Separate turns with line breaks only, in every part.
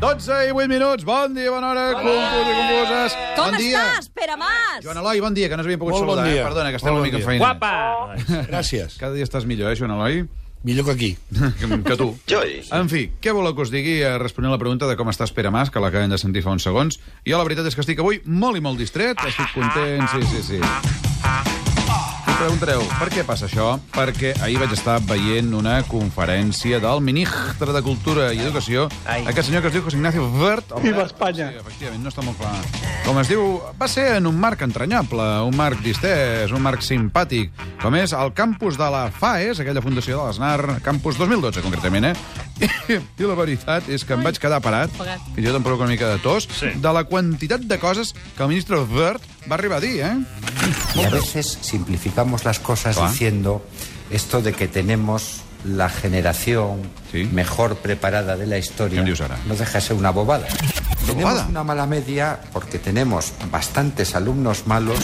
12 i 8 minuts. Bon dia, bona hora, confusos i confuses.
Com
bon dia.
estàs, Pere Mas?
Joan Eloi, bon dia, que no s'havien pogut
Molt bon
saludar. eh?
dia.
Perdona, que estem
Molt
una
bon
mica
dia.
enfeinats.
Guapa!
Gràcies.
Cada dia estàs millor, eh, Joan Eloi?
Millor que aquí.
que que tu.
Jo hi.
En fi, què voleu que us digui eh, responent a la pregunta de com està Pere Mas, que l'acabem de sentir fa uns segons? Jo la veritat és que estic avui molt i molt distret, estic content, sí, sí, sí. Us preguntareu, per què passa això? Perquè ahir vaig estar veient una conferència del ministre de Cultura i Educació, Ai. aquest senyor que es diu José Ignacio Wert. Viva Espanya! Sí, efectivament, no està molt clar. Com es diu, va ser en un marc entranyable, un marc distès, un marc simpàtic, com és el campus de la FAES, aquella fundació de l'Aznar, campus 2012, concretament, eh? I la veritat és que em vaig quedar parat,
Apagat.
fins i tot em provoca una mica de tos, sí. de la quantitat de coses que el ministre Wert va arribar a dir, eh?
Y a veces simplificamos las cosas
Claro.
diciendo esto de que tenemos la generación
Sí.
mejor preparada de la historia.
¿Qué dios hará?
No deja de ser una bobada. Tenemos
bobada?
una mala media porque tenemos bastantes alumnos malos.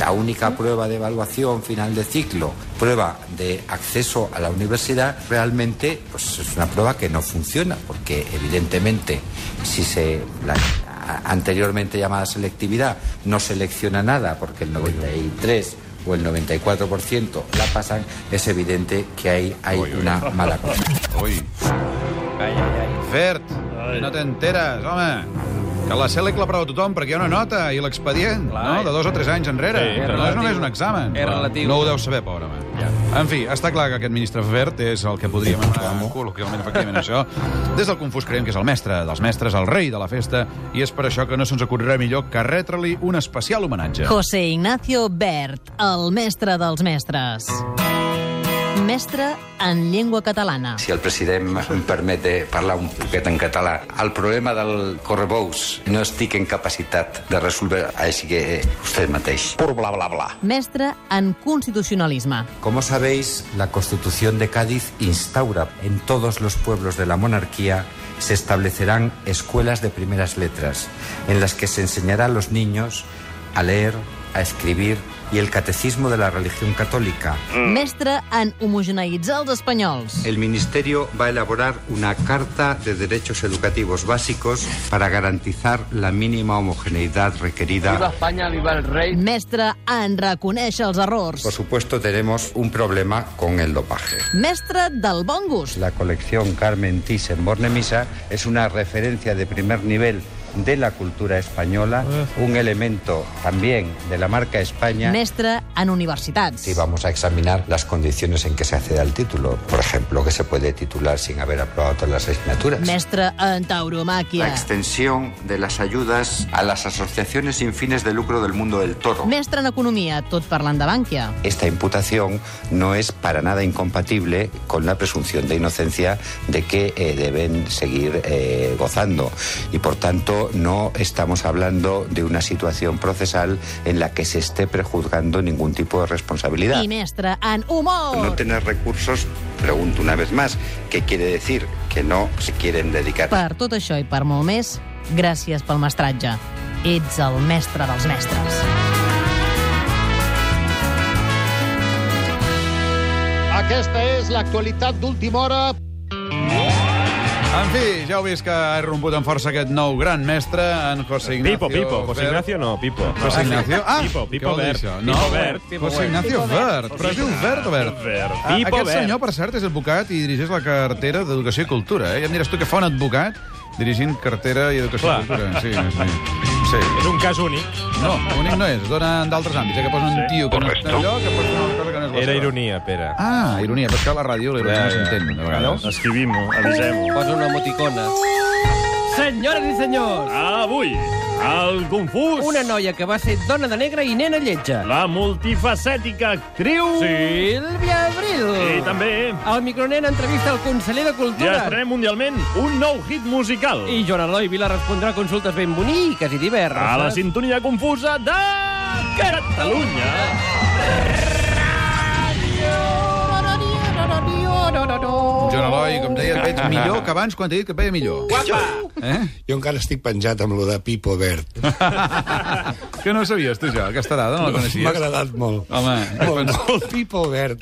La única prueba de evaluación final de ciclo, prueba de acceso a la universidad, realmente pues, es una prueba que no funciona porque evidentemente si se la a- anteriormente llamada selectividad no selecciona nada porque el 93 o el 94% la pasan, es evidente que ahí hay una mala cosa.
Ui.
Ai, ai, ai.
Wert, no t'enteres, home. Que la CELEC la prova tothom perquè hi ha una nota i l'expedient,
Clar.
no? De dos o tres anys enrere.
Sí,
no
és
és
relatiu.
només un examen.
És relatiu.
No ho deu saber, pobre home.
Ja.
En fi, està clar que aquest ministre Wert és el que podríem anomenar col·loquialment, efectivament, això. Des del confús creiem que és el mestre dels mestres, el rei de la festa, i és per això que no se'ns acudirà millor que retre-li un especial homenatge.
José Ignacio Bert, el mestre dels mestres. Mestre en llengua catalana.
Si el president em permet de parlar un poquet en català, el problema del correbous no estic en capacitat de resoldre, així que eh, vostè mateix.
Pur bla bla bla.
Mestre en constitucionalisme.
Como sabéis, la Constitución de Cádiz instaura en todos los pueblos de la monarquía se establecerán escuelas de primeras letras en las que se enseñará a los niños a leer, a escribir y el catecismo de la religión católica.
Mestre en homogeneïtzar els espanyols.
El Ministerio va a elaborar una Carta de Derechos Educativos Básicos para garantizar la mínima homogeneidad
Viva
requerida.
España, viva el rey.
Mestre en reconèixer els errors.
Por supuesto, tenemos un problema con el dopaje.
Mestre del bon gust.
La colección Carmen Thyssen Bornemisza es una referencia de primer nivel de la cultura española, un elemento también de la marca España.
Mestre en universitats.
Si vamos a examinar las condiciones en que se accede al título, por ejemplo, que se puede titular sin haber aprobado todas las asignaturas.
Mestre en
La
tauromàquia.
extensión de las ayudas a las asociaciones sin fines de lucro del mundo del toro.
Mestre en economia, tot parlant de bànquia.
Esta imputación no es para nada incompatible con la presunción de inocencia de que eh, deben seguir eh, gozando. Y por tanto, no estamos hablando de una situación procesal en la que se esté prejuzgando ningún tipo de responsabilidad.
I mestre en humor.
No tener recursos, pregunto una vez más, ¿qué quiere decir? Que no se quieren dedicar.
Per tot això i per molt més, gràcies pel mestratge. Ets el mestre dels mestres.
Aquesta és l'actualitat d'última hora.
En fi, ja heu vist que ha romput amb força aquest nou gran mestre, en José Ignacio
Pipo, Pipo. José
Wert.
Ignacio no, Pipo.
José
No.
Ignacio? Ah,
Pipo, Pipo
què vol dir
Wert.
això?
Pipo Wert. Pipo
José
Wert.
Ignacio Wert. Però es diu Wert o Wert?
Wert.
Ah,
Pipo
Aquest
Wert.
senyor, per cert, és advocat i dirigeix la cartera d'Educació i Cultura. Eh? Ja em diràs tu que fa un advocat dirigint cartera i Educació
Clar.
i Cultura. Sí, sí. sí.
És un cas únic.
No, únic no és. Es dona en d'altres àmbits. Eh? Que posen un tio que no està allò, que posen una cosa que no és la
Era
seva.
ironia, Pere.
Ah, ironia, però és que a la ràdio la ironia
Ja,
no
ja.
s'entén, de vegades.
Escrivim-ho, avisem-ho.
Posa una emoticona.
Senyores i senyors,
Ah.
Ah,
Avui, al Confús,
Una noia que va ser dona de negre i nena lletja.
la multifacètica actriu...
Sílvia Abril.
I també...
El micronen entrevista al conseller de Cultura.
Ja estarem mundialment un nou hit musical.
I Joan Eloi Vila respondrà consultes ben boniques i diverses.
A la sintonia confusa de... Catalunya!
Joan Eloi, com deia, et veig millor que abans quan t'he dit que et veia millor. Guapa! Eh?
Jo encara estic penjat amb lo de Pipo Verd.
Que no ho sabies, tu, jo, aquesta dada, no la
M'ha
coneixies?
agradat molt.
Home,
molt,
quan-
molt Pipo Verd.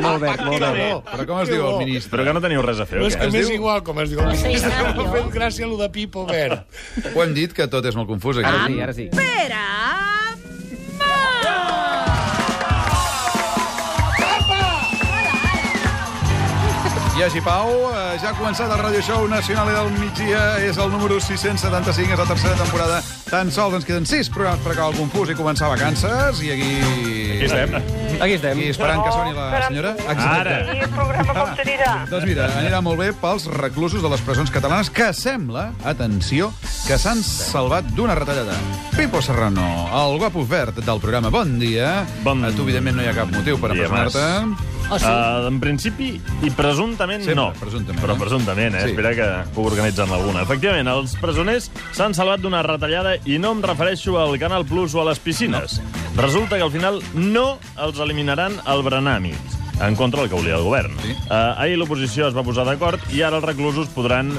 Molt bé, molt bé.
Però com es diu el ministre?
Però que no teniu res a fer,
Però
o
és que
què?
m'és igual com es diu. M'ha fet gràcia lo de Pipo Verd.
Ho hem dit que tot és molt confús, aquí.
Ara sí, ara sí.
I així, Pau, eh, ja ha començat el Radio Show Nacional del Migdia. És el número 675, és la tercera temporada. Tan sols ens queden 6 programes per acabar el confús i començar vacances. I aquí...
Aquí estem.
Aquí estem.
Aquí esperant que soni la senyora.
Ara.
I el programa com s'anirà?
Doncs mira, anirà molt bé pels reclusos de les presons catalanes que sembla, atenció, que s'han salvat d'una retallada. Pipo Serrano, el guapo verd del programa Bon Dia.
Bon
A tu, evidentment, no hi ha cap motiu per
dia,
O
empresonar-te.
sigui,
Uh, en principi, i presumptament
Sempre,
no.
presumptament,
Però
eh?
presumptament, eh?
Sí.
Espera que puc organitzar-ne alguna. Efectivament, els presoners s'han salvat d'una retallada i no em refereixo al Canal Plus o a les piscines. No. Resulta que al final no els eliminaran el Brenami en contra del que volia el govern.
Sí.
Uh, ahir l'oposició es va posar d'acord i ara els reclusos podran,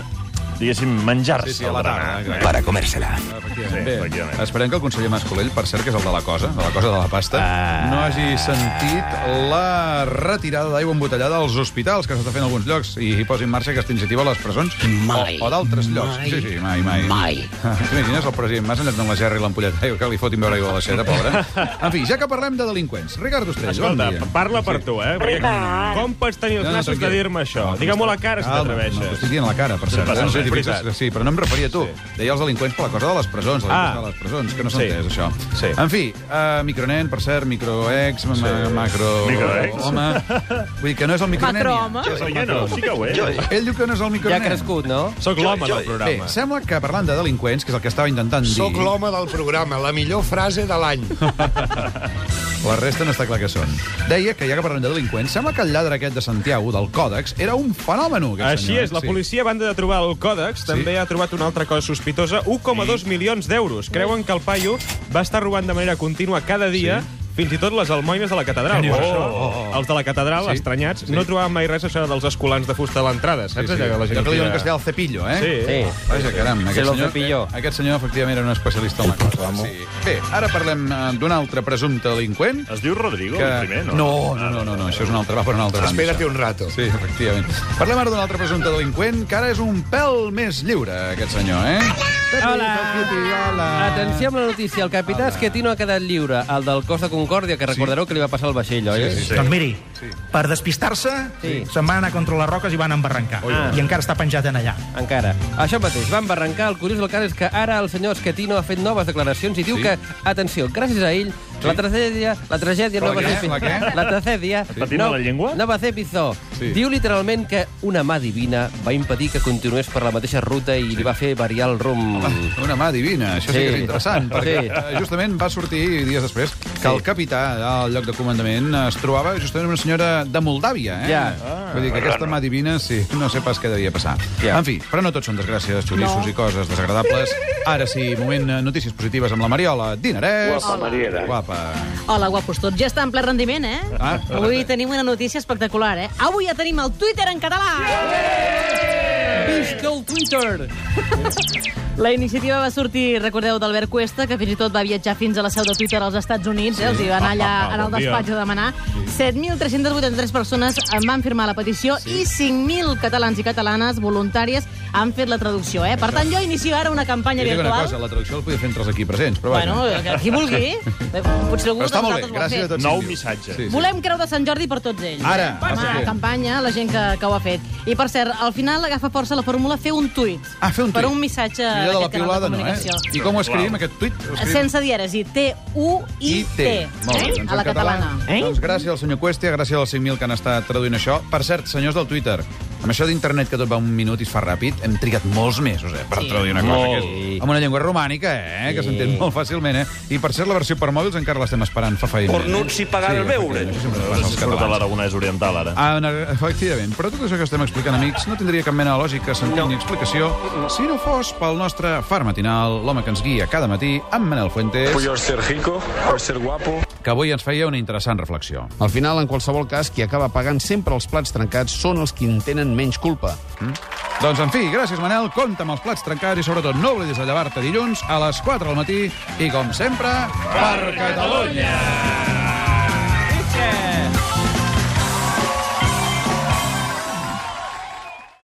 diguéssim, menjar-se
Sí, sí, a la
el
tarda.
Brenami.
exacte.
Para comérsela.
Efectivament.
Sí,
Bé,
efectivament.
Esperem que el conseller Mascolell, per cert, que és el de la cosa, de la cosa de la pasta,
Ah.
no hagi sentit la retirada d'aigua embotellada als hospitals, que s'està fent a alguns llocs, i hi posi en marxa aquesta iniciativa a les presons
Mai,
o, o d'altres llocs.
mai,
sí, sí, mai, mai.
mai.
T'imagines el president Mas enlloc d'en la gerra i l'ampolleta d'aigua que li fotin veure aigua a l'aixeta, pobra? En fi, ja que parlem de delinqüents, Ricardo Estrell, bon
Escolta,
dia.
parla per tu, eh? Perquè
Veritat.
com pots tenir els
No, no,
nassos de
tranquil.
dir-me això?
No,
Digue-m'ho a la cara si
Calma, no, t'ho
t'atreveixes.
estic dient a la cara, per cert.
passa
eh? No sé si penses
res, és veritat.
que sí, però no em referia a tu. Deia els delinqüents per la cosa de les presons, la
Ah.
ah. de les presons, que no s'ha
Sí.
entès, això.
Sí.
En fi, uh, micronen, per cert, microex, sí. macro...
Microex.
Home. Vull dir que no és el micronen.
Macrohome.
Ja és el
Oi que no?
macrohome.
Sí que ho és.
Ell diu que no és el
Ja ha
micronen.
crescut, no?
Soc l'home del
Bé,
programa.
sembla que parlant de delinqüents, que és el que estava intentant dir...
Soc l'home del programa, la millor frase de l'any.
La resta no està clar què són. Deia que, ja que parlem de delinqüents, sembla que el lladre aquest de Santiago, del Còdex, era un fenomen, aquest
Així
senyor. eh?
és, la policia, a banda de trobar el còdex, també ha trobat una altra cosa sospitosa, 1,2 milions d'euros. Creuen que el paio va estar robant de manera contínua cada dia fins i tot les almoines de la catedral. Per això, Els de la catedral,
Oh, Sí.
estranyats, no trobaven mai res això dels escolans de fusta a l'entrada. Saps
Sí, sí.
allò que la gent...
Allò que li
tira?
diuen en castellà el cepillo, eh?
Sí.
Sí.
Vaja, caram, aquest
lo
senyor,
cepilló.
eh, aquest senyor efectivament era un especialista en la cosa. Sí. Bé, ara parlem eh, d'un altre presumpte delinqüent.
Es diu Rodrigo,
Que...
el primer, no?
No, no, no, no, no, això és un altre, va per un altre. banda,
Espera't
això.
un rato.
Sí, efectivament. Parlem ara d'un altre presumpte delinqüent, que ara és un pèl més lliure, aquest senyor, eh? Pepe,
Hola.
Pepe, Hola!
Atenció amb la notícia. El capità Esquetino ha quedat lliure, el del cos de Concòrdia, que recordareu que li va passar al vaixell, oi?
Sí, sí,
Sí.
Doncs miri, per despistar-se,
Sí.
se'n van anar contra les roques i van embarrancar. I encara està penjat en allà.
Encara. Això mateix, van barrancar. El curiós del cas és que ara el senyor Esquetino ha fet noves declaracions i diu
Sí.
que, atenció, gràcies a ell, la tragèdia, la tragèdia
La
no va
què?
ser...
La què?
La tragèdia...
Patina
no-
la llengua?
No va ser pitjor.
Sí.
Diu literalment que una mà divina va impedir que continués per la mateixa ruta i li va fer variar el rumb.
Una mà divina, això sí,
Sí.
que és interessant, perquè
Sí.
eh, justament va sortir dies després que el capità al lloc de comandament es trobava justament una senyora de Moldàvia, eh?
Ja.
Vull dir que aquesta mà divina, sí, no sé pas què devia passar.
Ja.
En fi, però no tot són desgràcies, xoriços i coses desagradables. Ara sí, moment, eh, notícies positives amb la Mariola Dinarès. Guapa, Mariela. Guapa.
Hola, guapos tots. Ja està en ple rendiment, eh?
Ah.
Avui tenim una notícia espectacular, eh? Avui ja tenim el Twitter en català!
Visca el Twitter!
La iniciativa va sortir, recordeu, d'Albert Cuesta, que fins i tot va viatjar fins a la seu de Twitter als Estats Units, eh? els hi va anar allà
Ah, ah,
en el
bon dia.
despatx a demanar. 7.383 persones en van firmar la petició i 5.000 catalans i catalanes voluntàries han fet la traducció. Eh? Per tant, jo inicio ara una campanya
Jo dic una
virtual.
cosa, la traducció la podia fer entre els aquí presents, però vaja.
Bueno, que qui vulgui. Potser algú
però
de
està molt bé,
vosaltres ho ha
gràcies a
fet.
tots.
Nou
sí, diu.
missatge.
Sí, sí.
Volem creu de Sant Jordi per tots ells.
Ara,
eh?
vas a
Home,
fer.
campanya, la gent que, que ho ha fet. I, per cert, al final agafa força la fórmula fer un tuit.
Ah, fer un
Per
tuit.
un missatge
Allò de la
d'aquest canal
piulada,
de
no, eh?
comunicació.
I com ho escrivim, aquest tuit? Ho escrivim?
Sense dièresi, T-U-I-T, eh?
Molt bé, doncs
a
en
la catalana.
Eh?
Doncs gràcies al senyor Cuestia, gràcies als 5.000 que han estat traduint això. Per cert, senyors del Twitter, Amb això d'internet que tot va un minut i es fa ràpid, hem trigat molts mesos eh, per
Sí.
traduir una cosa
Molt.
que és amb una llengua romànica, eh, que s'entén molt fàcilment. Eh? I per cert, la versió per mòbils encara l'estem esperant, fa feina. eh?
Cornuts i pagar el beure. Surt a l'aragonès oriental, ara.
Ah, En, efectivament, però tot això que estem explicant, amics, no tindria cap mena de lògica, sentit no. ni explicació si no fos pel nostre far matinal, l'home que ens guia cada matí, en Manel Fuentes,
ser rico, ser guapo...
que avui ens feia una interessant reflexió.
Al final, en qualsevol cas, qui acaba pagant sempre els plats trencats són els qui en tenen menys culpa.
Mm? Doncs, en fi, gràcies, Manel. Compte amb els plats trencats i, sobretot, no oblidis de llevar-te dilluns a les 4 del matí i, com sempre,
Per Catalunya!